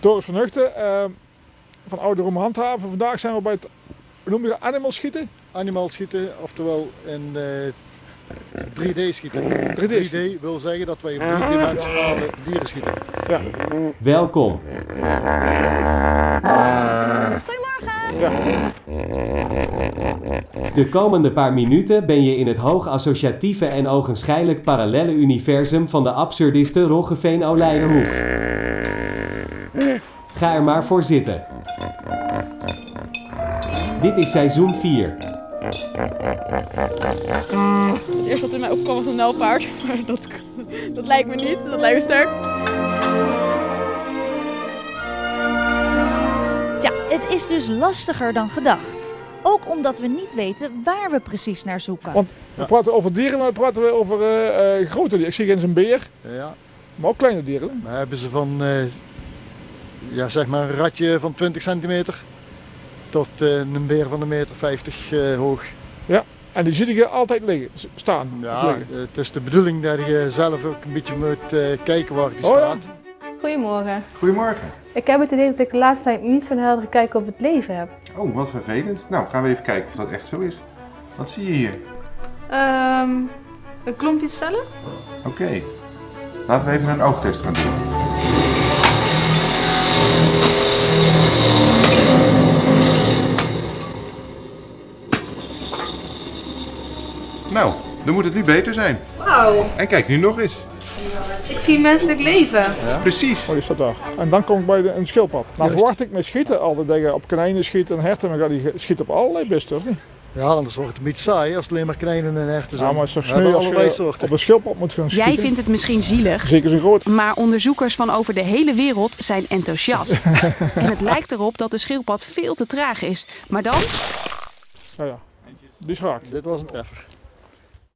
Doris van Huchten eh, van Ouderom Handhaven. Vandaag zijn we bij het, hoe noem je dat, animal schieten? Animaal schieten, oftewel in eh, 3D schieten. 3D 3D, wil zeggen dat wij op Ah. drie-dimensionale dieren schieten. Ja, Welkom. ja. De komende paar minuten ben je in het hoogassociatieve en ogenschijnlijk parallelle universum van de absurdiste Roggeveen Olijdenhoek. Ga er maar voor zitten. Dit is seizoen 4. Het eerste wat in mij opkwam was een nijlpaard. Maar dat, dat lijkt me niet, dat lijkt me sterk. Ja, het is dus lastiger dan gedacht. Ook omdat we niet weten waar we precies naar zoeken. Want- We praten over dieren, maar dan praten we over eh, eh, grote dieren. Ik zie geen eens een beer, Ja, maar ook kleine dieren. maar hebben ze van eh, ja, zeg maar een ratje van 20 centimeter tot eh, een beer van een meter 50 eh, hoog. En die zie ik hier altijd liggen, s- staan. of Ja, liggen. het is de bedoeling dat je zelf ook een beetje moet eh, kijken waar die Oh ja. staat. Goedemorgen. Goedemorgen. Ik heb het idee dat ik de laatste tijd niet zo'n heldere kijk op het leven heb. Oh, wat vervelend. Nou, gaan we even kijken of dat echt zo is. Wat zie je hier? Ehm, een klompje cellen? Oké. Laten we even een oogtest gaan doen. Nou, dan moet het nu beter zijn. Wauw, En kijk nu nog eens. ik zie menselijk leven. Precies. Oh, die staat daar. En dan kom ik bij de, een schildpad. Nou verwacht ik met schieten altijd dat je op konijnen schiet en herten, maar die ge- schiet op allerlei beesten, of niet? Ja, anders wordt het een beetje saai als het alleen maar knijnen en herten zijn. Ja, maar het is toch We sneu hebben als allerlei je soorten. op een schildpad moet gaan schieten. Jij vindt het misschien zielig, Zeker zo'n groot. maar onderzoekers van over de hele wereld zijn enthousiast. En het lijkt erop dat de schildpad veel te traag is. Maar dan Ja, ja. Die is raak. Dit was een treffer.